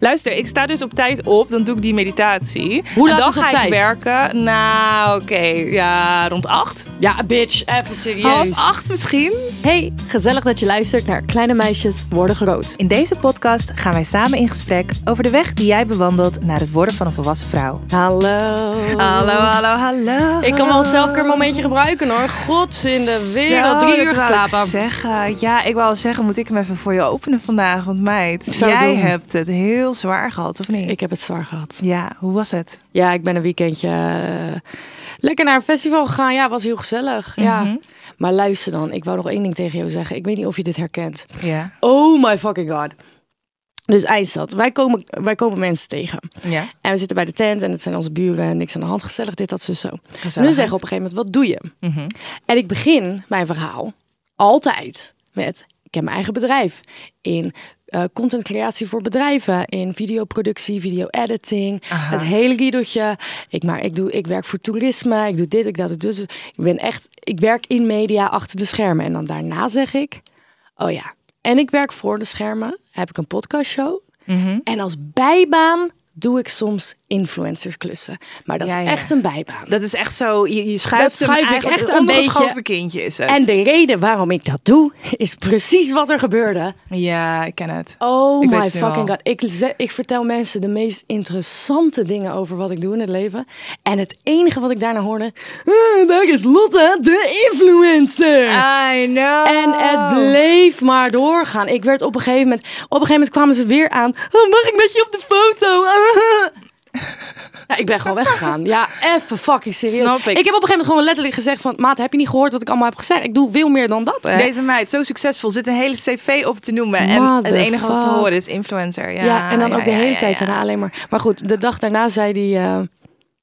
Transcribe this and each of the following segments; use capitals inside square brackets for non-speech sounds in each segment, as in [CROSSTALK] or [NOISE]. Luister, ik sta dus op tijd op, dan doe ik die meditatie. Hoe laat En dan is op ga tijd? ik werken. Nou, oké, ja, rond acht. Ja, bitch, even serieus. Half acht misschien. Hey, gezellig dat je luistert naar Kleine Meisjes Worden Groot. In deze podcast gaan wij samen in gesprek over de weg die jij bewandelt naar het worden van een volwassen vrouw. Hallo. hallo, hallo. Ik kan wel zelf een momentje gebruiken hoor. God in de wereld, drie uur geslapen. Zeggen. Ja, ik wou zeggen, moet ik hem even voor je openen vandaag, want meid, zou het jij doen. hebt het heel zwaar gehad, of niet? Ik heb het zwaar gehad. Ja, hoe was het? Ja, ik ben een weekendje eh, lekker naar een festival gegaan. Ja, was heel gezellig. Ja. Maar luister dan, ik wou nog één ding tegen jou zeggen. Ik weet niet of je dit herkent. Ja. Oh my fucking god. Dus IJsland, wij komen, wij komen mensen tegen. Ja. En we zitten bij de tent en het zijn onze buren en niks aan de hand. Gezellig, dit, dat, zus, zo. Gezellig. Nu zeggen op een gegeven moment, wat doe je? En ik begin mijn verhaal altijd met, ik heb mijn eigen bedrijf. In eh, content creatie voor bedrijven, in videoproductie, video editing, het hele guidotje. Ik, maar, ik, doe, ik werk voor toerisme, ik doe dit, ik dat, ik dus. Ik ben echt, ik werk in media achter de schermen. En dan daarna zeg ik, oh ja, en ik werk voor de schermen, heb ik een podcastshow. Mhm. En als bijbaan doe ik soms influencersklussen. Maar dat Ja, is ja. echt een bijbaan. Dat is echt zo, je, je schuift Dat schuif hem ik eigenlijk echt een een ongeschoven beetje. kindje is het. En de reden waarom ik dat doe, is precies wat er gebeurde. Ja, ik ken het. Oh Ik weet my het nu al. fucking god. Ik, ze- ik vertel mensen de meest interessante dingen over wat ik doe in het leven. En het enige wat ik daarna hoorde, "Eh, daar is Lotte, de influencer. I know. En Oh. het bleef maar doorgaan. Ik werd op een gegeven moment, op een gegeven moment kwamen ze weer aan. "Oh, mag ik met je op de foto? [LAUGHS] Ja, ik ben gewoon weggegaan. Ja, even fucking serieus. Snap ik. heb op een gegeven moment gewoon letterlijk gezegd van... Maat, heb je niet gehoord wat ik allemaal heb gezegd? Ik doe veel meer dan dat. Hè? Deze meid, zo succesvol, zit een hele cv op te noemen. En het Motherfuck. enige wat ze horen is influencer. Ja, Ja, en dan ja, ook de ja, hele ja, tijd ja. daarna alleen maar. Maar goed, de dag daarna zei hij. eh,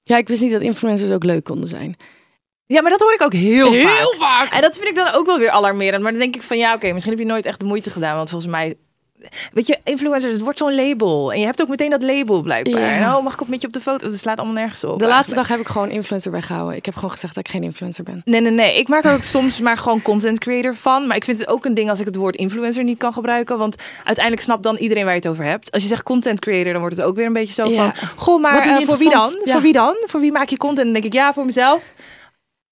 ja, ik wist niet dat influencers ook leuk konden zijn. Ja, maar dat hoor ik ook heel, Heel vaak. En dat vind ik dan ook wel weer alarmerend. Maar dan denk ik van ja, oké, misschien heb je nooit echt de moeite gedaan. Want volgens mij, weet je, influencers, het wordt zo'n label. En je hebt ook meteen dat label blijkbaar. Ja. En, oh, mag ik op met je op de foto? Dat slaat allemaal nergens op. De eigenlijk. laatste dag heb ik gewoon influencer weggehouden. Ik heb gewoon gezegd dat ik geen influencer ben. Nee, nee, nee. Ik maak er ook soms maar gewoon content creator van. Maar ik vind het ook een ding als ik het woord influencer niet kan gebruiken. Want uiteindelijk snapt dan iedereen waar je het over hebt. Als je zegt content creator, dan wordt het ook weer een beetje zo Ja. van... Goh, Wat maar doe je eh, voor wie dan? interessant? Ja. Voor wie dan? Voor wie maak je content? En dan denk ik, ja, voor mezelf.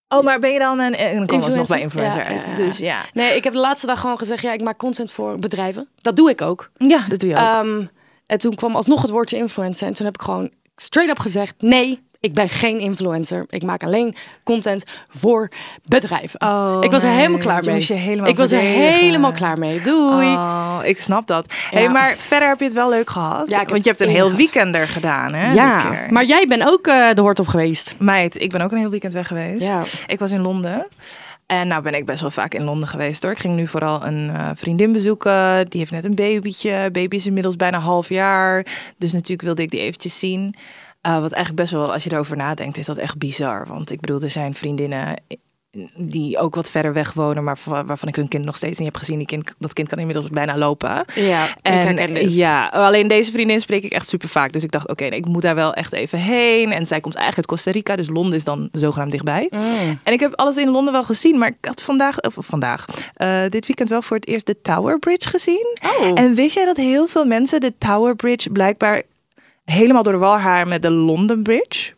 Oh, maar ben je dan een... En dan komen we nog bij influencer eh, Ja, uit. ja, ja. Dus ja. Nee, ik heb de laatste dag gewoon gezegd: ja, ik maak content voor bedrijven. Dat doe ik ook. Ja, dat doe je ook. Ehm, en toen kwam alsnog het woordje influencer. En toen heb ik gewoon straight up gezegd: nee. Ik ben geen influencer. Ik maak alleen content voor bedrijven. Oh, ik was er nee. helemaal klaar Je mee. moest je helemaal ik was er verdedigen. helemaal klaar mee. Doei. Oh, ik snap dat. Hey, Ja. maar verder heb je het wel leuk gehad. Ja, ik heb Want je hebt een het heel heel weekend er gedaan, hè? dit Ja, keer. maar jij bent ook eh, de hort op geweest. Meid, ik ben ook een heel weekend weg geweest. Ja. Ik was in Londen. En nou ben ik best wel vaak in Londen geweest hoor. Ik ging nu vooral een eh, vriendin bezoeken. Die heeft net een babytje. Baby is inmiddels bijna een half jaar. Dus natuurlijk wilde ik die eventjes zien. Eh, wat eigenlijk best wel, als je erover nadenkt, is dat echt bizar. Want ik bedoel, er zijn vriendinnen die ook wat verder weg wonen, maar wa- waarvan ik hun kind nog steeds niet heb gezien. Die kind, dat kind kan inmiddels bijna lopen. [LAUGHS] Ja, ik herken dit. Ja, alleen deze vriendin spreek ik echt super vaak. Dus ik dacht, oké, nee, ik moet daar wel echt even heen. En zij komt eigenlijk uit Costa Rica, dus Londen is dan zogenaamd dichtbij. Mm. En ik heb alles in Londen wel gezien, maar ik had vandaag, of vandaag, eh, dit weekend wel voor het eerst de Tower Bridge gezien. Oh. En wist jij dat heel veel mensen de Tower Bridge blijkbaar helemaal door de wal haren met de London Bridge?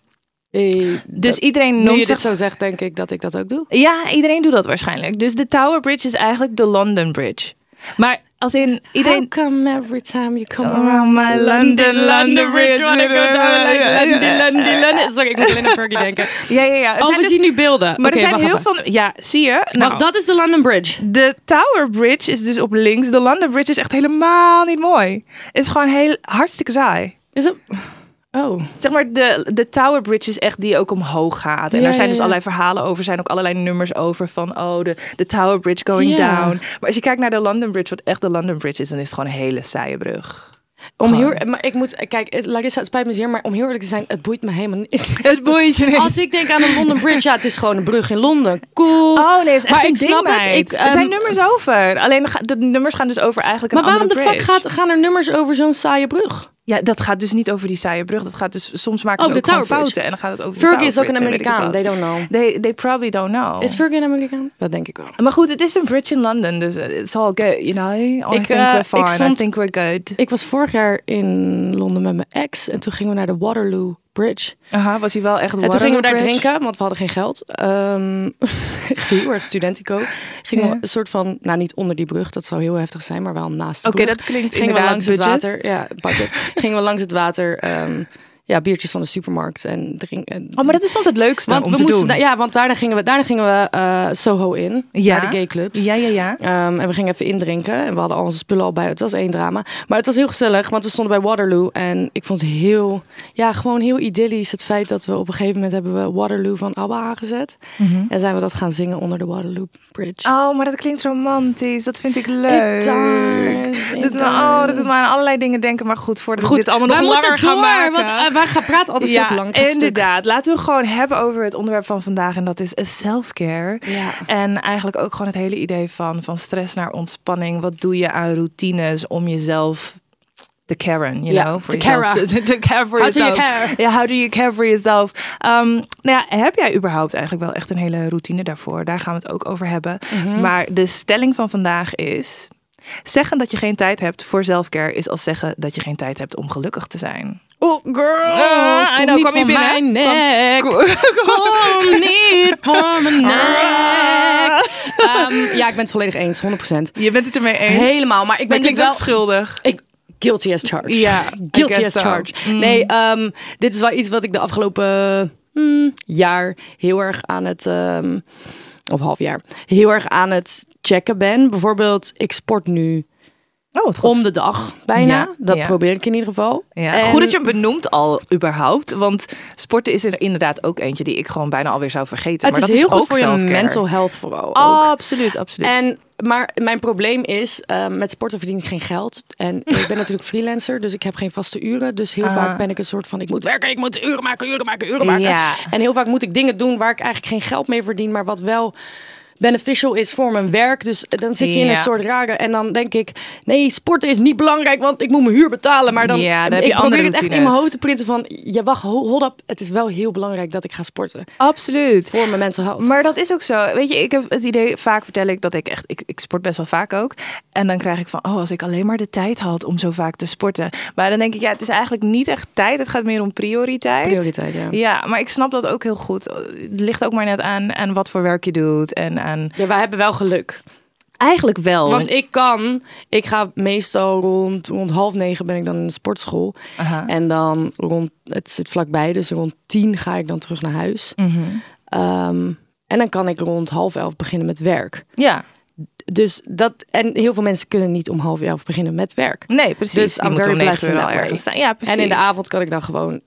Dus iedereen nu noemt je zich dit zo zegt, denk ik dat ik dat ook doe. ja, iedereen doet dat waarschijnlijk. Dus de Tower Bridge is eigenlijk de London Bridge. Maar als in iedereen. come every time you come Around my London, London bridge, wanna go down like ja, ja, ja. London, London, London. Sorry, ik moet alleen aan [LAUGHS] Fergie denken. Ja, ja, ja. Er Oh, zijn we dus- zien nu beelden. Maar Oké, er zijn wacht heel even. veel. Ja, zie je? Nou, Wacht, dat is de London Bridge. De Tower Bridge is dus op links. De London Bridge is echt helemaal niet mooi. Is gewoon heel hartstikke saai. Is het? Oké, Oh, Zeg maar, de, de Tower Bridge is echt die ook omhoog gaat. En Ja, daar zijn ja, dus ja. allerlei verhalen over. Er zijn ook allerlei nummers over van, oh, de, de Tower Bridge going Ja. down. Maar als je kijkt naar de London Bridge, wat echt de London Bridge is, dan is het gewoon een hele saaie brug. om Gewoon. heel, maar ik moet, kijk, het- Larissa, het spijt me zeer, maar om heel eerlijk te zijn, het boeit me helemaal niet. Het boeit je niet. [LAUGHS] Als ik denk aan de London Bridge, ja, het is gewoon een brug in Londen. Cool. Oh nee, het is echt Maar een ik ding, snap het, meid. ik, er zijn ehm, nummers over. Alleen ga- de nummers gaan dus over eigenlijk maar een waarom de andere fuck bridge. gaat, gaan er nummers over zo'n saaie brug? Ja, dat gaat dus niet over die saaie brug. Dat gaat dus soms maken Oh, ze de ook gewoon Tower Bridge. fouten en dan gaat het over. de Fergie is ook Tower een Bridge en weet ik Amerikaan. veel They don't know. wat. They, they probably don't know. Is Fergie een Amerikaan? Oh. Dat denk ik wel. maar goed, het is een bridge in London, dus eh, it's all good, you know. I think eh, we're ik fine. I stond- think we're good. Ik was vorig jaar in Londen met mijn ex en toen gingen we naar de Waterloo Bridge. Aha, was hij wel echt En toen gingen we daar Waterloo Bridge? drinken, want we hadden geen geld. Ehm, [LAUGHS] echt heel erg studentico. Gingen Ja. we een soort van, nou niet onder die brug, dat zou heel heftig zijn, maar wel naast de Oké, brug. dat klinkt [LAUGHS] Gingen we inderdaad langs het budget. water. Ja, budget. gingen we langs het water. ehm, ja, biertjes van de supermarkt en drinken. eh, Oh, maar dat is soms het leukste want om we te moesten, doen. da- ja, want daarna gingen we, daarna gingen we eh, Soho in, Ja. naar de gay clubs. ja, ja, ja. Ehm, en we gingen even indrinken. En we hadden al onze spullen al bij. Het was één drama. Maar het was heel gezellig, want we stonden bij Waterloo. En ik vond het heel, ja, gewoon heel idyllisch. Het feit dat we op een gegeven moment hebben we Waterloo van ABBA aangezet. En zijn we dat gaan zingen onder de Waterloo Bridge. Oh, maar dat klinkt romantisch. Dat vind ik leuk. Oh, leuk. Doet me, oh, dat doet me aan allerlei dingen denken. Maar goed, voordat Goed, we dit allemaal wij nog moeten langer gaan maken. door, want eh, wij gaan praten altijd veel te lang. Ik ga stuk. inderdaad. Laten we gewoon hebben over het onderwerp van vandaag. En dat is eh, self-care. Ja. En eigenlijk ook gewoon het hele idee van, van stress naar ontspanning. Wat doe je aan routines om jezelf te caren, you Ja, know? te jezelf caren. te- te care for How do you yourself. care? Ja, how do you care for yourself? Ehm, nou ja, heb jij überhaupt eigenlijk wel echt een hele routine daarvoor? Daar gaan we het ook over hebben. Mhm. Maar de stelling van vandaag is... Zeggen dat je geen tijd hebt voor selfcare is als zeggen dat je geen tijd hebt om gelukkig te zijn. Oh, girl. Ah, I kom know, niet kwam je voor binnen? mijn Kwam- nek. Kom- Kom niet [LAUGHS] voor mijn nek. Ehm, ja, ik ben het volledig eens, 100%. Je bent het ermee eens. Helemaal, maar ik ben ik dit wel... schuldig. Ik, guilty as charged. Ja, I guilty guess as so. Mm. charged. Nee, ehm, dit is wel iets wat ik de afgelopen hmm, jaar heel erg aan het... ehm, of half jaar. Heel erg aan het checken ben. Bijvoorbeeld, ik sport nu Oh, het om de dag bijna. Ja, dat ja. probeer ik in ieder geval. Ja. En- Goed dat je hem benoemt al überhaupt. Want sporten is er inderdaad ook eentje die ik gewoon bijna alweer zou vergeten. Het maar dat is heel is ook goed voor je self-care. Oh, mental health vooral ook. Absoluut, absoluut. En, maar mijn probleem is, eh, met sporten verdien ik geen geld. [LAUGHS] En ik ben natuurlijk freelancer, dus ik heb geen vaste uren. Dus heel vaak ben ik een soort van, ik moet werken, ik moet uren maken, uren maken, uren maken. Ah. Ja. En heel vaak moet ik dingen doen waar ik eigenlijk geen geld mee verdien, maar wat wel beneficial is voor mijn werk. Dus dan zit je in Ja. een soort rare... En dan denk ik, nee, sporten is niet belangrijk, want ik moet mijn huur betalen. Maar dan, Ja, dan heb je ik probeer andere het echt in routines. mijn hoofd te printen van, ja, wacht, ho- hold up. Het is wel heel belangrijk dat ik ga sporten absoluut. voor mijn mental health. Maar dat is ook zo. Weet je, ik heb het idee, vaak vertel ik dat ik echt, ik, ik sport best wel vaak ook. En dan krijg ik van, oh, als ik alleen maar de tijd had om zo vaak te sporten. Maar dan denk ik, ja, het is eigenlijk niet echt tijd. Het gaat meer om prioriteit. Prioriteit, ja. Ja, maar ik snap dat ook heel goed. Het ligt ook maar net aan, aan wat voor werk je doet. En aan... Ja, wij hebben wel geluk. Eigenlijk wel. Want ik kan, ik ga meestal rond, rond half negen ben ik dan in de sportschool. En dan rond, het zit vlakbij, dus rond tien ga ik dan terug naar huis. Mhm. Ehm, en dan kan ik rond half elf beginnen met werk. Ja, Dus dat, en heel veel mensen kunnen niet om half elf beginnen met werk. nee, precies. Dus Die I'm moeten very om negen blessed uur in al that way. ergens zijn. Ja, precies. En in de avond kan ik dan gewoon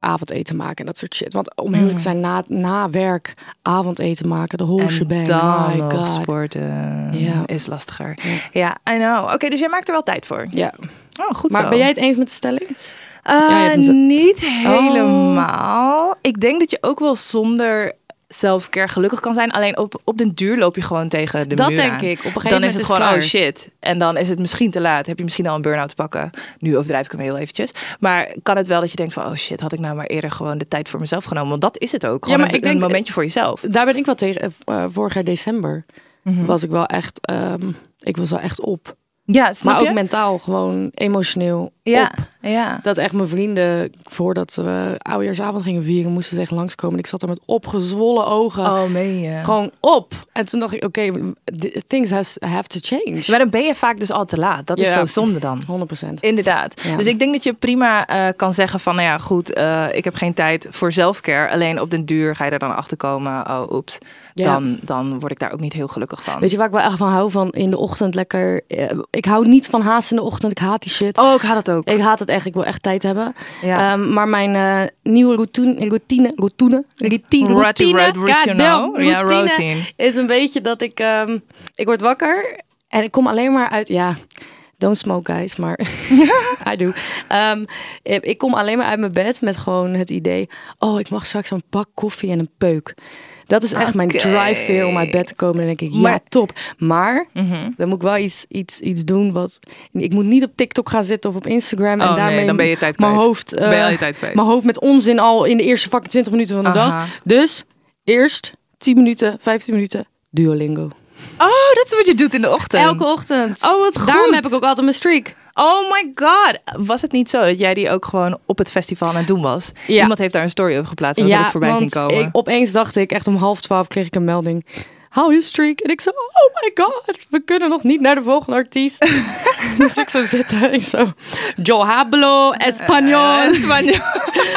avondeten maken en dat soort shit. Want om heel te zijn, na, na werk avondeten maken, de whole shebang. Mhm. En dan eh, My nog God. sporten ehm, Ja. is lastiger. Ja, I know. Oké, dus jij maakt er wel tijd voor. Ja, Oh, goed maar zo. ben jij het eens met de stelling? Eh, Ja, je hebt hem ze- niet Oh. helemaal. Ik denk dat je ook wel zonder self-care gelukkig kan zijn. Alleen op, op den duur loop je gewoon tegen de Dat muur denk aan. ik. Op een gegeven dan moment is het is gewoon, het oh klaar. shit. En dan is het misschien te laat. Heb je misschien al een burn-out te pakken. Nu overdrijf ik hem heel eventjes. Maar kan het wel dat je denkt van, oh shit, had ik nou maar eerder gewoon de tijd voor mezelf genomen. Want dat is het ook. Gewoon maar een, ik denk- een momentje voor jezelf. daar ben ik wel tegen. eh, v- eh, vorig jaar december Mhm. was ik wel echt. ehm, ik was wel echt op. Ja, snap maar ook je? mentaal, gewoon emotioneel. ja, Op. ja. Dat echt mijn vrienden, voordat we oudjaarsavond gingen vieren, moesten ze echt langskomen. En ik zat er met opgezwollen ogen. Oh, meen je? Gewoon op. En toen dacht ik, oké, th- things has, have to change. Maar dan ben je vaak dus al te laat. Dat is Ja. zo zonde dan. 100%. Inderdaad. Ja. Dus ik denk dat je prima eh, kan zeggen van, nou ja, goed, eh, ik heb geen tijd voor zelfcare. Alleen op den duur ga je er dan achter komen. Oh, oeps. Ja. Dan, dan word ik daar ook niet heel gelukkig van. Weet je waar ik wel echt van hou? Van in de ochtend lekker. eh, Ik hou niet van haast in de ochtend. Ik haat die shit. Oh, ik haat dat ook. Ik haat het echt, ik wil echt tijd hebben. Ja. Ehm, maar mijn eh, nieuwe routine, routine, routine, routine, Rut- routine, rut- routine. goddamn, Ja, routine. is een beetje dat ik, ehm, ik word wakker en ik kom alleen maar uit, ja, don't smoke guys, maar [LAUGHS] I do. Ehm, ik ik kom alleen maar uit mijn bed met gewoon het idee, oh, ik mag straks een pak koffie en een peuk. Dat is echt mijn Oké. drive weer om uit bed te komen. Dan denk ik, ja, Maar- top. Maar dan moet ik wel iets, iets, iets doen. Wat, ik moet niet op TikTok gaan zitten of op Instagram. Oh, en nee, daarmee dan ben je tijd mijn kwijt. hoofd, eh, Ben je al je tijd kwijt. Mijn hoofd met onzin al in de eerste fucking 20 minuten van de Aha. dag. Dus eerst 10 minuten, 15 minuten Duolingo. Oh, dat is wat je doet in de ochtend. Elke ochtend. Oh, wat Daarom goed. heb ik ook altijd mijn streak. Oh my god. Was het niet zo dat jij die ook gewoon op het festival aan het doen was? Ja. Iemand heeft daar een story op geplaatst en dat heb ik voorbij zien want komen. Ik, opeens dacht ik, echt om half twaalf kreeg ik een melding. Hou je streak. En ik zo, oh my god, we kunnen nog niet naar de volgende artiest. [LAUGHS] dus ik zo zitten, ik zo, yo hablo español, Het was niet-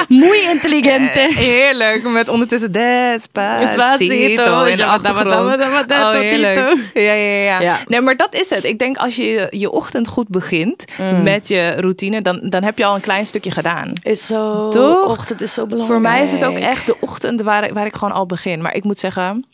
muy inteligente. Heerlijk, met ondertussen Despacito. Despacito, in de ja, wat dat, wat dat, wat dat, wat dat, Oh, tot heerlijk. Tito. Ja, ja, ja, Ja. ja. Nee, maar dat is het. Ik denk als je je ochtend goed begint met je routine, dan, dan heb je al een klein stukje gedaan. eh, Is zo, Toch? ochtend is zo belangrijk. Voor mij is het ook echt de ochtend waar, waar ik gewoon al begin. Maar ik moet zeggen,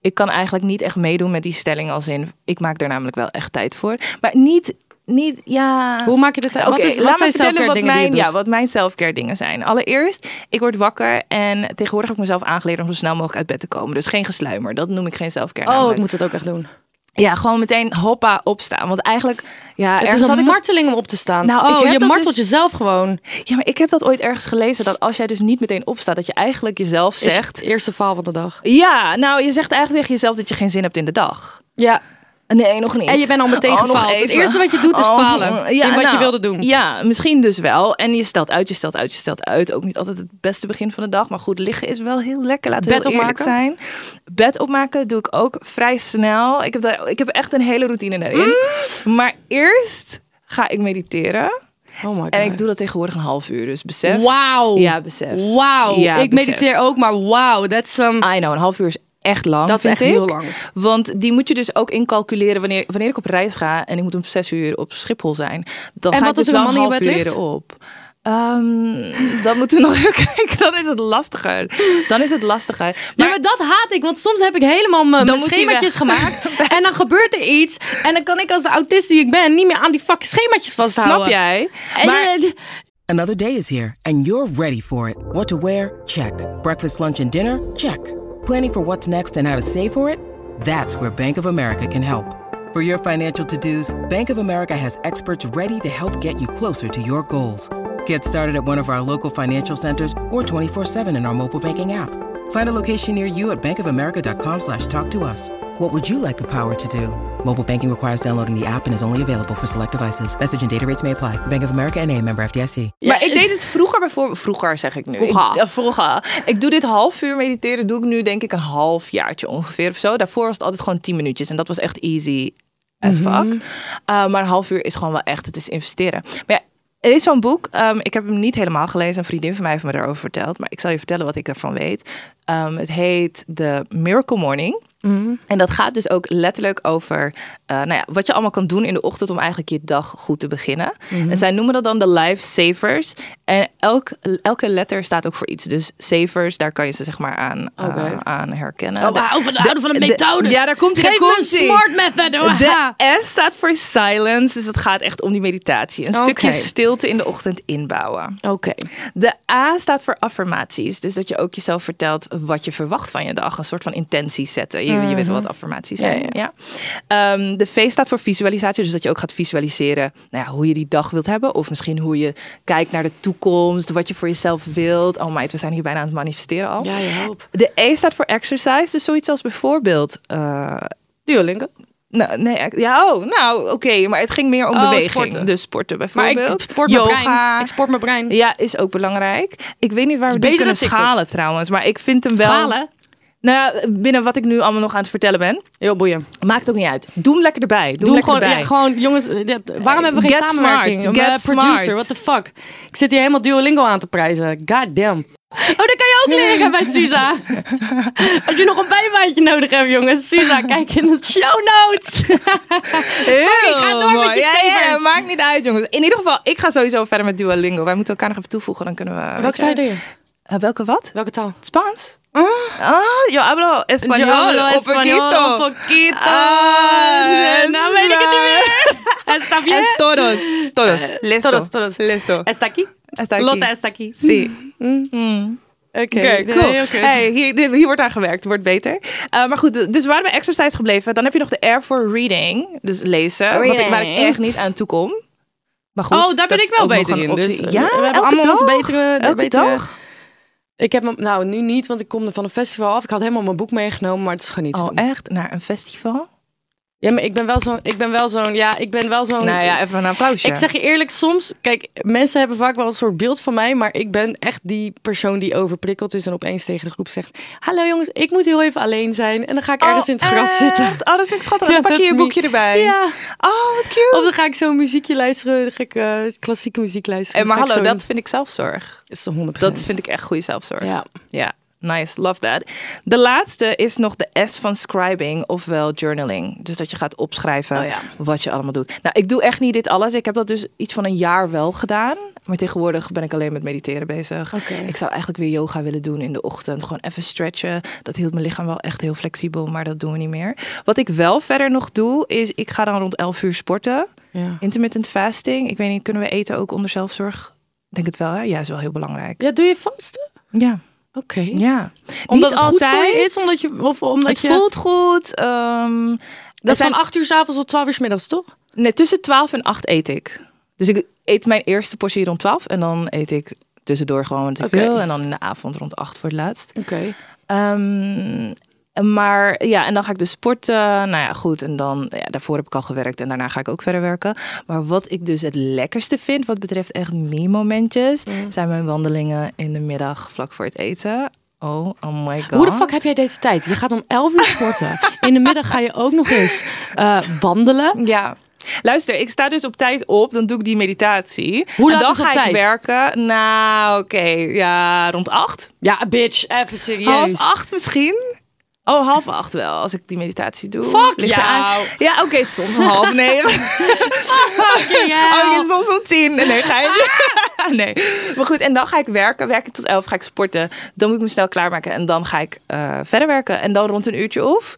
ik kan eigenlijk niet echt meedoen met die stelling als in... Ik maak daar namelijk wel echt tijd voor. Maar niet, niet ja... Hoe maak je dit uit? Oké, wat is, laat me wat zijn vertellen self-care wat dingen die je mijn, doet? ja, wat mijn selfcare dingen zijn. Allereerst, ik word wakker en tegenwoordig heb ik mezelf aangeleerd om zo snel mogelijk uit bed te komen. Dus geen gesluimer, dat noem ik geen selfcare Oh, ik namelijk. moet het ook echt doen. Ja, gewoon meteen hoppa opstaan. Want eigenlijk, ja, Het ergens is had een ik dat- marteling om op te staan. Nou, ik oh, heb je dat martelt dus- jezelf gewoon. Ja, maar ik heb dat ooit ergens gelezen, dat als jij dus niet meteen opstaat, dat je eigenlijk jezelf Is zegt... het Eerste faal van de dag. Ja, nou, je zegt eigenlijk tegen jezelf dat je geen zin hebt in de dag. Ja, Nee, nog niet. Oh, En je bent al meteen nog gefaald. Het even. Oh, eerste wat je doet is falen in wat je wilde doen. nou. Ja, misschien dus wel. En je stelt uit, je stelt uit, je stelt uit. Ook niet altijd het beste begin van de dag. Maar goed, liggen is wel heel lekker. Laten we Bed heel eerlijk opmaken? zijn. Bed opmaken doe ik ook vrij snel. Ik heb, daar, ik heb echt een hele routine daarin. Mm. Maar eerst ga ik mediteren. oh my god. En ik doe dat tegenwoordig een half uur. Dus besef. Wauw. Ja, besef. Wauw. Ja, ik besef. Ah, mediteer ook, maar wauw. That's um, some... I know, een half uur is echt lang. Dat is vind echt ik. heel lang. Want die moet je dus ook incalculeren wanneer, wanneer ik op reis ga en ik moet om zes uur op Schiphol zijn. Dan En ga wat ik dus als er wel een een man in half je uur bed ligt? eerder op. Ehm, dan moeten we [LAUGHS] nog even kijken. Dan is het lastiger. Dan is het lastiger. ja, maar dat haat ik, want soms heb ik helemaal mijn Dan mijn moet hij [LAUGHS] schemaatjes weg. gemaakt. en dan gebeurt er iets. En dan kan ik als de autist die ik ben niet meer aan die fucking schemaatjes vasthouden. snap jij? En Maar- je- Another day is here, and you're ready for it. What to wear? Check. Breakfast, lunch, and dinner? Check. Planning for what's next and how to save for it? That's where Bank of America can help. For your financial to dos, Bank of America has experts ready to help get you closer to your goals. Get started at one of our local financial centers or 24-7 in our mobile banking app. Find a location near you at bankofamerica.com slash talk to us. What would you like the power to do? Mobile banking requires downloading the app and is only available for select devices. Message and data rates may apply. Bank of America and a member FDIC. Maar ik deed het vroeger bijvoorbeeld. Vroeger zeg ik nu. Ik, Vroeger. eh, vroeger. Ik doe dit half uur mediteren. Doe ik nu denk ik een half jaartje ongeveer of zo. Daarvoor was het altijd gewoon 10 minuutjes. En dat was echt easy as fuck. Uh, maar een half uur is gewoon wel echt. Het is investeren. Maar ja, er is zo'n boek. ehm, ik heb hem niet helemaal gelezen. Een vriendin van mij heeft me daarover verteld. Maar ik zal je vertellen wat ik ervan weet. Ehm, het heet The Miracle Morning. En dat gaat dus ook letterlijk over eh, nou ja, wat je allemaal kan doen in de ochtend om eigenlijk je dag goed te beginnen. En zij noemen dat dan de lifesavers. En elk, elke letter staat ook voor iets. Dus savers, daar kan je ze zeg maar aan, eh, Oké. aan herkennen. Oh, we houden van de, houden van de methodes. ja, daar komt hij. Geef me een smart method. hoor. De S staat voor silence, dus het gaat echt om die meditatie. Een Oké. Oh. stukje stilte in de ochtend inbouwen. Oké. De A staat voor affirmaties. Dus dat je ook jezelf vertelt wat je verwacht van je dag. Een soort van intentie zetten. Je, Mhm. je weet wel wat affirmaties zijn. Ja, Ehm, de V staat voor visualisatie. Dus dat je ook gaat visualiseren nou ja, hoe je die dag wilt hebben. Of misschien hoe je kijkt naar de toekomst. Wat je voor jezelf wilt. Oh meid, we zijn hier bijna aan het manifesteren al. Ja, je hoop. De E staat voor exercise. Dus zoiets als bijvoorbeeld... eh, Duolingo. nou, nee, echt- ja, oh, nou, oké, maar het ging meer om Oh, beweging. sporten. Dus sporten Maar bijvoorbeeld. ik sport mijn Yoga. brein. Ik sport mijn brein. Ja, is ook belangrijk. Ik weet niet waar we beter die kunnen dan TikTok. schalen trouwens, maar ik vind hem wel... Schalen. Nou ja, binnen wat ik nu allemaal nog aan het vertellen ben. Heel boeiend. Maakt ook niet uit. Doe hem lekker erbij. Doe, Doe hem lekker gewoon, erbij. ja, gewoon, jongens, dit- waarom hebben we geen Get samenwerking? smart, Mijn get producer, smart. what the fuck? Ik zit hier helemaal Duolingo aan te prijzen. God damn. Oh, dat kan je ook leren bij [LAUGHS] Suza. Als je nog een bijbaantje nodig hebt, [LAUGHS] jongens. Suza, kijk in de show notes. Sorry, ga door met je ja, ja, savers. maakt niet uit, jongens. In ieder geval, ik ga sowieso verder met Duolingo. Wij moeten elkaar nog even toevoegen, dan kunnen we... weet Welke je- taal doe je? Eh, welke wat? Welke taal? Spaans? Ah, yo hablo español, Yo hablo un español, poquito. un poquito. Ah, nou weet ik het niet meer. Está bien. Es todos, todos, Eh, listo. todos, todos. Listo. Está aquí. Hasta aquí. Lotte está aquí. Sí. Mm. Oké, Oké, cool. heel goed. Hey, hier, dit- hier wordt aan gewerkt, wordt beter. Eh, maar goed, dus we waren bij exercise gebleven. Dan heb je nog de R voor reading, dus lezen. Wat ik, waar ik Reading. echt niet aan toe kom. Maar goed, Oh, daar dat ben ik is wel ook nog beter een in, optie. dus, ja, eh, we hebben elke allemaal dag. onze betere- elke betere- dag. Ik heb hem, nou nu niet, want ik kom er van een festival af. Ik had helemaal mijn boek meegenomen, maar het is gewoon niet. Oh, zo. echt? Naar een festival? Ja, maar ik ben wel zo'n, ik ben wel zo'n, ja, Oh, ik ben wel zo'n. Nou ja, even een applausje. Ik zeg je eerlijk, soms, kijk, mensen hebben vaak wel een soort beeld van mij, maar ik ben echt die persoon die overprikkeld is en opeens tegen de groep zegt: Hallo jongens, ik moet heel even alleen zijn. En dan ga ik ergens in het gras [LAUGHS] zitten. Oh, dat vind ik schattig. Ja, Dan pak je that's je me. boekje erbij. Ja. Oh, wat cute. Of dan ga ik zo'n muziekje luisteren, dan ga ik eh, klassieke muziek luisteren. Eh, maar Dan ga hallo, ik dat zo'n- vind ik zelfzorg. is 100%. Dat vind ik echt goede zelfzorg. Ja. Ja, nice, love that. De laatste is nog de S van scribing, ofwel journaling. Dus dat je gaat opschrijven Oh ja. wat je allemaal doet. Nou, ik doe echt niet dit alles. Ik heb dat dus iets van een jaar wel gedaan. Maar tegenwoordig ben ik alleen met mediteren bezig. Oké. Ik zou eigenlijk weer yoga willen doen in de ochtend. Gewoon even stretchen. Dat hield mijn lichaam wel echt heel flexibel, maar dat doen we niet meer. Wat ik wel verder nog doe, is ik ga dan rond 11 uur sporten. Ja. Intermittent fasting. Ik weet niet, kunnen we eten ook onder zelfzorg? Ik Denk het wel, hè? Ja, is wel heel belangrijk. ja, doe je vasten? Ja. Oké. Ja. Omdat Niet het goed voor je altijd. is? Omdat je, of omdat Het je... voelt goed. ehm, er Dat is zijn- van 8 uur 's avonds tot 12 uur 's middags, toch? nee, tussen 12 en 8 eet ik. Dus ik eet mijn eerste portie rond 12 en dan eet ik tussendoor gewoon wat ik Oké. wil. En dan in de avond rond 8 voor het laatst. Oké. Ehm, maar ja, en dan ga ik dus sporten. Nou ja, goed. En dan, ja, daarvoor heb ik al gewerkt en daarna ga ik ook verder werken. Maar wat ik dus het lekkerste vind, wat betreft echt me-momentjes, zijn mijn wandelingen in de middag vlak voor het eten. Oh, oh my god. Hoe de fuck heb jij deze tijd? Je gaat om 11 uur sporten. In de middag ga je ook nog eens eh, wandelen. Ja. Luister, ik sta dus op tijd op, dan doe ik die meditatie. Hoe en laat dan is op ga ik tijd? werken. Nou, oké, ja, rond acht. Ja, bitch, even Half serieus. acht misschien. Oh, half acht wel, als ik die meditatie doe. Fuck Ligt jou. eraan. Ja, oké, soms om [LAUGHS] half negen. Fucking hell. Oh, soms om tien. Nee, ga je [LAUGHS] Nee. Maar goed, en dan ga ik werken. Werk ik tot elf, ga ik sporten. Dan moet ik me snel klaarmaken en dan ga ik eh, verder werken. En dan rond een uurtje of...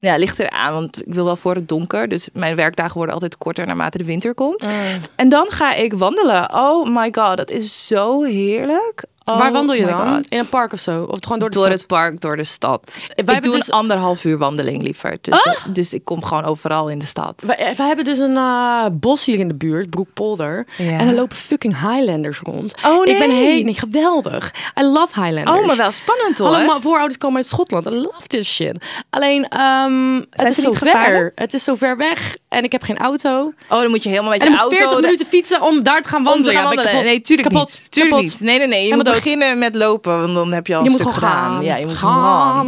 Ja, ligt eraan, want ik wil wel voor het donker. Dus mijn werkdagen worden altijd korter naarmate de winter komt. Mm. En dan ga ik wandelen. Oh my god, dat is zo heerlijk. Oh Waar wandel je my dan? God. In een park of zo? Of gewoon door de Door stad? het park, door de stad. Wij ik hebben doe dus- een anderhalf uur wandeling liever. Dus, dus ik kom gewoon overal in de stad. Wij, wij hebben dus een eh, bos hier in de buurt, Broekpolder. Ja. En er lopen fucking Highlanders rond. Oh, Ik ben nee. heen. nee, geweldig. I love Highlanders. Oh, maar wel spannend hoor. Allemaal mijn voorouders komen uit Schotland. I love this shit. Alleen, ehm, het is ze zo niet ver. gevaarlijk? Het is zo ver weg. En ik heb geen auto. Oh, dan moet je helemaal met En je dan moet auto... ik 40 de- minuten fietsen om daar te gaan Om te wandelen. gaan Ja, ben ik wandelen. kapot. Nee, tuurlijk kapot. niet. Tuurlijk kapot. niet. Nee, nee, nee. Je Helemaal moet dood. beginnen met lopen, want dan heb je al Je een moet stuk gewoon gedaan. gaan. Ja, je moet Gaan.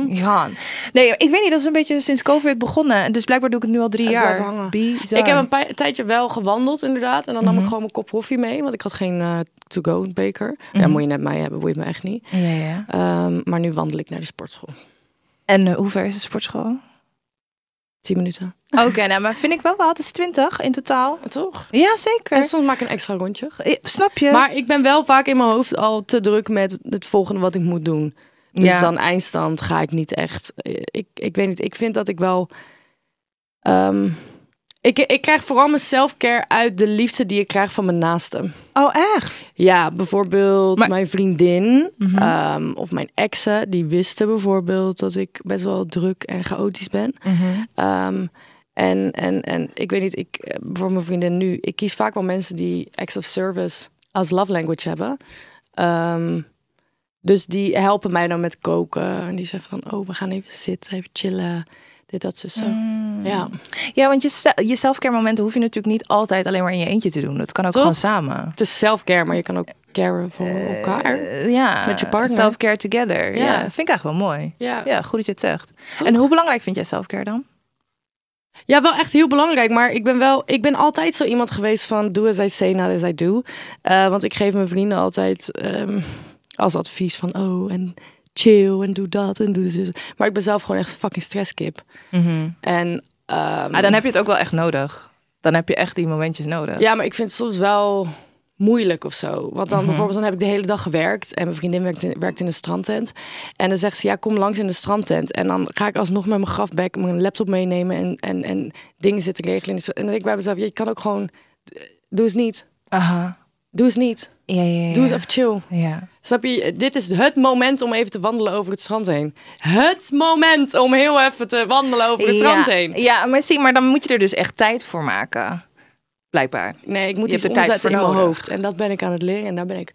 gaan. gaan. Nee, ik weet niet. Dat is een beetje sinds COVID begonnen. Dus blijkbaar doe ik het nu al drie Het blijft jaar. hangen. Bizar. Ik heb een pa- tijdje wel gewandeld, inderdaad. En dan Mhm. nam ik gewoon mijn kop koffie mee, want ik had geen eh, to-go beker. Ja, Mhm. moet je net mij hebben, boeit me echt niet. Ja, ja. Ehm, maar nu wandel ik naar de sportschool. En eh, hoe ver is de sportschool? [LAUGHS] 10 minuten. Oké, nou, maar vind ik wel wat. Het is 20 in totaal. Oh, Toch? Ja, En zeker. soms maak ik een extra rondje. Eh, Snap je? Maar ik ben wel vaak in mijn hoofd al te druk met het volgende wat ik moet doen. Dus Ja. dan eindstand ga ik niet echt. eh, Ik, ik weet niet. Ik vind dat ik wel. ehm, ik, ik krijg vooral mijn self-care uit de liefde die ik krijg van mijn naasten. Oh, echt? Ja, bijvoorbeeld Maar- mijn vriendin ehm, of mijn exen, die wisten bijvoorbeeld dat ik best wel druk en chaotisch ben. Mhm. Ehm, en, en, en ik weet niet, ik, eh, voor mijn vriendin nu, ik kies vaak wel mensen die acts of service als love language hebben. Ehm, dus die helpen mij dan met koken. En die zeggen van, oh, we gaan even zitten, even chillen. Dit, dat, zus, zo. Mm. Ja. Ja, want je, se- je selfcare momenten hoef je natuurlijk niet altijd alleen maar in je eentje te doen. Dat kan ook Toch? gewoon samen. Het is self-care, maar je kan ook caren voor elkaar. Eh, ja. Met je partner. Selfcare together. Ja. Ja. Vind ik eigenlijk wel mooi. Ja. Ja, goed dat je het zegt. En hoe belangrijk vind jij selfcare dan? Ja, wel echt heel belangrijk. Maar ik ben wel, ik ben altijd zo iemand geweest van do as I say, not as I do. Eh, want ik geef mijn vrienden altijd ehm, als advies van oh en chill en doe dat en doe dus. Maar ik ben zelf gewoon echt fucking stresskip. En ehm, Maar dan heb je het ook wel echt nodig. Dan heb je echt die momentjes nodig. ja, maar ik vind het soms wel moeilijk of zo. Want dan Mhm. bijvoorbeeld dan heb ik de hele dag gewerkt en mijn vriendin werkt in, werkt in een strandtent. En dan zegt ze ja, kom langs in de strandtent. En dan ga ik alsnog met mijn grafbek mijn laptop meenemen en, en, en dingen zitten regelen. En dan denk ik bij mezelf, ja, je kan ook gewoon doe eens niet. Aha. Doe eens niet. Ja, ja, ja. Doe eens even chill. Ja. Snap je? Dit is het moment om even te wandelen over het strand heen. Het moment om heel even te wandelen over het strand ja. heen. Ja, maar zie, maar dan moet je er dus echt tijd voor maken. Blijkbaar. Nee, ik moet Je iets hebt er tijd omzetten in voor mijn nodig. hoofd. En dat ben ik aan het leren en daar ben ik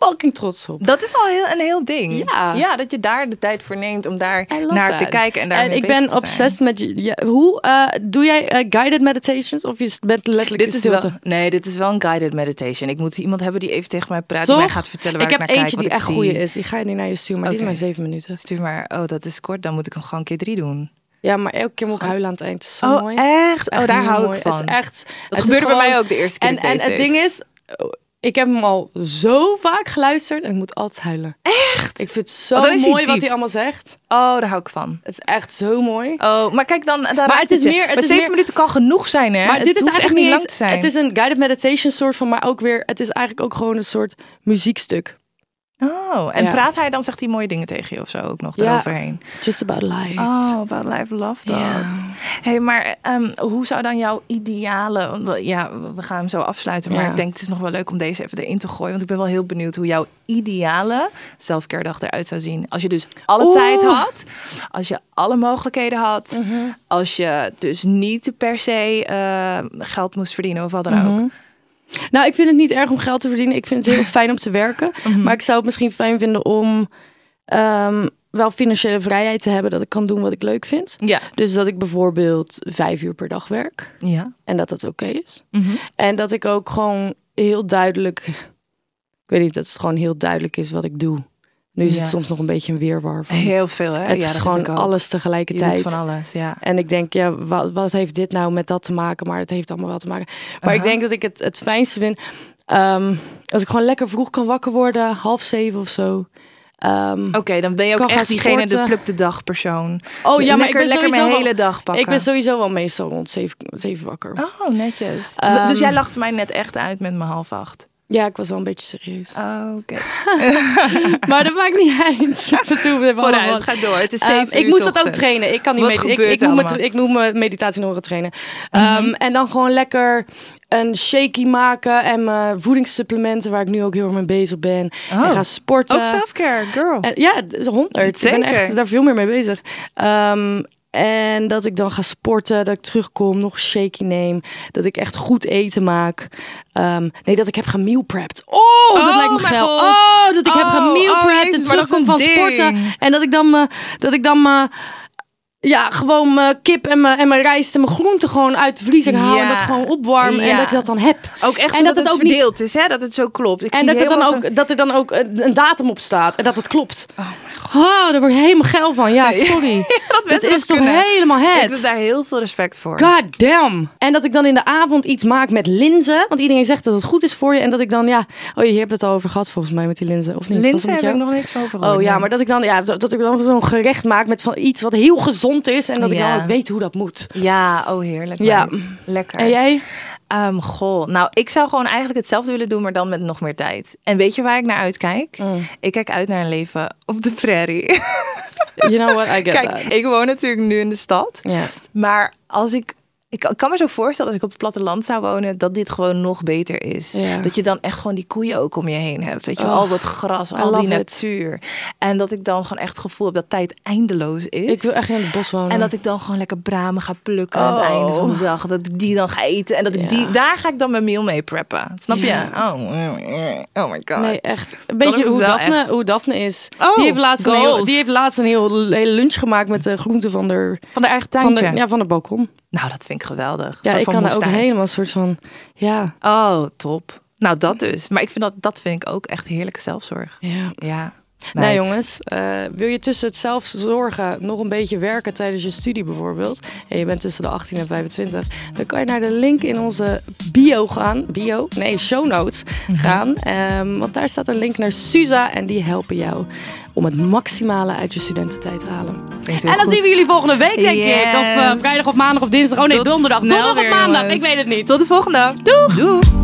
fucking trots op. Dat is al heel, een heel ding. Ja. dat je daar de tijd voor neemt om daar I love naar that. te kijken en daar En mee ik bezig ben te zijn. obsessed met... je- ja, hoe eh, doe jij eh, guided meditations? Of je bent letterlijk Dit in is wel, stilte? nee, dit is wel een guided meditation. Ik moet iemand hebben die even tegen mij praat, Toch? die mij gaat vertellen waar ik, ik heb naar eentje kijk, die wat echt ik goeie zie. is. Die ga je niet naar je sturen, maar die Oké. is maar zeven minuten. Stuur maar, oh, dat is kort, dan moet ik hem gewoon een keer drie doen. Ja, maar elke keer moet ik huilen aan het eind. Het is zo Oh, mooi. echt? Het is Oh, daar heel hou ik mooi. van. Het is echt... Dat het gebeurde is bij gewoon- mij ook de eerste keer En, dat ik en deze het ding is, oh, ik heb hem al zo vaak geluisterd en ik moet altijd huilen. Echt? Ik vind het zo Want Oh, dan is hij mooi wat diep. hij allemaal zegt. Oh, daar hou ik van. Het is echt zo mooi. Oh, maar kijk dan. daar raakt het is je. meer- het Maar is zeven meer- minuten kan genoeg zijn, hè? Maar het dit is hoeft eigenlijk echt niet niet lang eens- te zijn. Het is een guided meditation soort van, maar ook weer, het is eigenlijk ook gewoon een soort muziekstuk. Oh, en Ja. praat hij dan zegt hij mooie dingen tegen je of zo ook nog Ja. daaroverheen. Just about life. Oh, about life, love that. Ja. hey, maar ehm, hoe zou dan jouw ideale... want we- Ja, we gaan hem zo afsluiten, maar Ja. ik denk het is nog wel leuk om deze even erin te gooien. Want ik ben wel heel benieuwd hoe jouw ideale selfcare dag eruit zou zien. Als je dus alle Oeh. tijd had, als je alle mogelijkheden had, Mhm. als je dus niet per se eh, geld moest verdienen of wat dan ook. Nou, ik vind het niet erg om geld te verdienen. Ik [LAUGHS] vind het heel fijn om te werken. Mhm. Maar ik zou het misschien fijn vinden om ehm, wel financiële vrijheid te hebben. Dat ik kan doen wat ik leuk vind. Ja. Dus dat ik bijvoorbeeld vijf uur per dag werk. Ja. En dat dat oké is. Mhm. En dat ik ook gewoon heel duidelijk. Ik weet niet, dat het gewoon heel duidelijk is wat ik doe. Nu is Ja. het soms nog een beetje een [LAUGHS] weerwar. Van. Heel veel, hè? Het Oh ja, is dat gewoon heb ik ook. alles Je doet tegelijkertijd. van alles, ja. En ik denk, ja, wat, wat heeft dit nou met dat te maken? Maar het heeft allemaal wel te maken. Maar Uh-huh. ik denk dat ik het, het fijnste vind. ehm, als ik gewoon lekker vroeg kan wakker worden, half zeven of zo. Ehm, Oké, dan ben je ook Kan gaan echt diegene de sporten. pluk de dag persoon. oh ja, maar lekker- ik ben lekker sowieso mijn wel- hele dag pakken. Ik ben sowieso wel meestal rond zeven, zeven wakker. Oh, netjes. Ehm, dus jij lachte mij net echt uit met mijn half acht. Ja, ik was wel een beetje serieus. [LAUGHS] Oh, Oké. maar dat maakt niet [LAUGHS] uit. Af en toe hebben we allemaal wat. Vooruit, ga door. Het is Ehm, zeven ik uur moest dat ook ochtends. trainen. Ik kan niet Wat mediteren. Ik, gebeurt ik, noem allemaal? Mhm. het- ik noem mijn meditatie nog wel trainen. Ehm, En dan gewoon lekker een shaky maken en mijn voedingssupplementen, waar ik nu ook heel erg mee bezig ben. En gaan sporten. Oh. Ook selfcare, girl. En- Eh, ja, het is 100. Ik ben Zeker. echt daar veel meer mee bezig. Ehm, en dat ik dan ga sporten, dat ik terugkom, nog een shaky neem. Dat ik echt goed eten maak. Ehm, nee, dat ik heb gemeal prepped. Oh, dat Oh lijkt me mijn geil. God. Oh, dat ik heb Oh, gemeal oh, prepped Jezus, en maar dat is terugkom een van sporten. ding. En dat ik dan, me, dat ik dan me, ja, gewoon mijn kip en mijn, en mijn rijst en mijn groenten gewoon uit de vriezer haal. En Ja. dat gewoon opwarm en Ja. dat ik dat dan heb. Ook echt en zodat het, ook niet verdeeld is, hè? Dat het zo klopt. Ik en zie dat, het dan helemaal ook, dat er dan ook een, een datum op staat en dat het klopt. Oh, daar word ik helemaal geil van. Ja, [LAUGHS] sorry. dat mensen is [LAUGHS] dat toch kunnen. helemaal zo- Ik het. heb daar heel veel respect voor. God damn. En dat ik dan in de avond iets maak met linzen. Want iedereen zegt dat het goed is voor je. En dat ik dan, ja... Oh, je hebt het al over gehad volgens mij met die linzen. Of niet? Was dat Linzen met heb jou? ik nog niks over gehoord. Oh ja, nee. maar dat ik dan, ja, dat, dat ik dan zo'n gerecht maak met van iets wat heel gezond is. En dat ik Ja. dan ook weet hoe dat moet. Ja, oh heerlijk. Ja. meid. Lekker. En jij? Ehm, goh, nou, ik zou gewoon eigenlijk hetzelfde willen doen, maar dan met nog meer tijd. En weet je waar ik naar uitkijk? Mm. Ik kijk uit naar een leven op de prairie. You know what? I get [LAUGHS] Kijk, that. ik woon natuurlijk nu in de stad. Ja. Maar als ik. Ik kan- ik kan me zo voorstellen als ik op het platteland zou wonen, dat dit gewoon nog beter is. Ja. Dat je dan echt gewoon die koeien ook om je heen hebt. Weet je, wel, Oh, al dat gras, al love die it. natuur. En dat ik dan gewoon echt het gevoel heb dat tijd eindeloos is. Ik wil echt in het bos wonen. En dat ik dan gewoon lekker bramen ga plukken aan het einde van de dag. Dat ik die dan ga eten. En dat ik Oh. Ja. die, daar ga ik dan mijn meal mee preppen. Snap Ja. je? Oh, oh my god. Nee, echt. Een beetje lukt hoe wel Daphne, echt. hoe Daphne is. Oh, die, heeft laatst een heel, goals. die heeft laatst een heel, hele lunch gemaakt met de groenten van de... Van de eigen Van tuintje. de, ja, van het balkon. Nou, dat vind ik geweldig. Ja, Soort ik van kan daar ook moestuin. helemaal een soort van... Ja, Oh, top. Nou, dat dus. Maar ik vind dat, dat vind ik ook echt heerlijke zelfzorg. ja. Ja. Nou Meid. jongens, eh, wil je tussen het zelfzorgen nog een beetje werken tijdens je studie bijvoorbeeld? En je bent tussen de 18 en 25. Dan kan je naar de link in onze bio gaan. Bio? Nee, show notes Mhm. gaan. Ehm, want daar staat een link naar Suza. En die helpen jou om het maximale uit je studententijd te halen. Klinkt heel En dan goed. zien we jullie volgende week denk ik. Of eh, Yes. vrijdag of maandag of dinsdag. Oh nee, Tot donderdag. snel Donderdag of weer, maandag. jongens. Ik weet het niet. Tot de volgende. Doeg. Doeg.